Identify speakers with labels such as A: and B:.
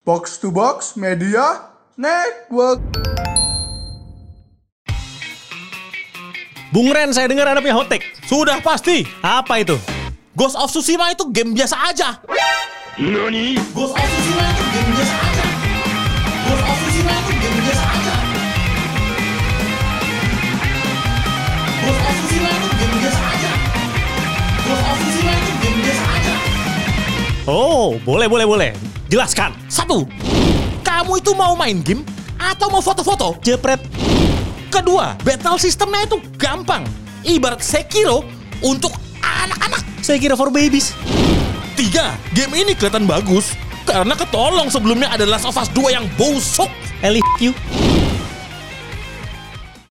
A: Box to Box Media Network.
B: Bung Ren, saya dengar Anda punya hotek.
C: Sudah pasti.
B: Apa itu?
C: Ghost of Tsushima itu game biasa aja. Ghost of Tsushima itu game biasa aja. Ghost of Tsushima itu game biasa aja. Ghost of Tsushima itu game biasa aja. Ghost of Tsushima itu game biasa aja.
B: Oh, boleh, boleh, boleh. Jelaskan.
C: Satu, kamu itu mau main game atau mau foto-foto?
B: Jepret.
C: Kedua, battle sistemnya itu gampang. Ibarat Sekiro untuk anak-anak.
B: Saya kira for babies.
C: Tiga, game ini kelihatan bagus karena ketolong sebelumnya ada Last of Us 2 yang busuk.
B: Ellie you.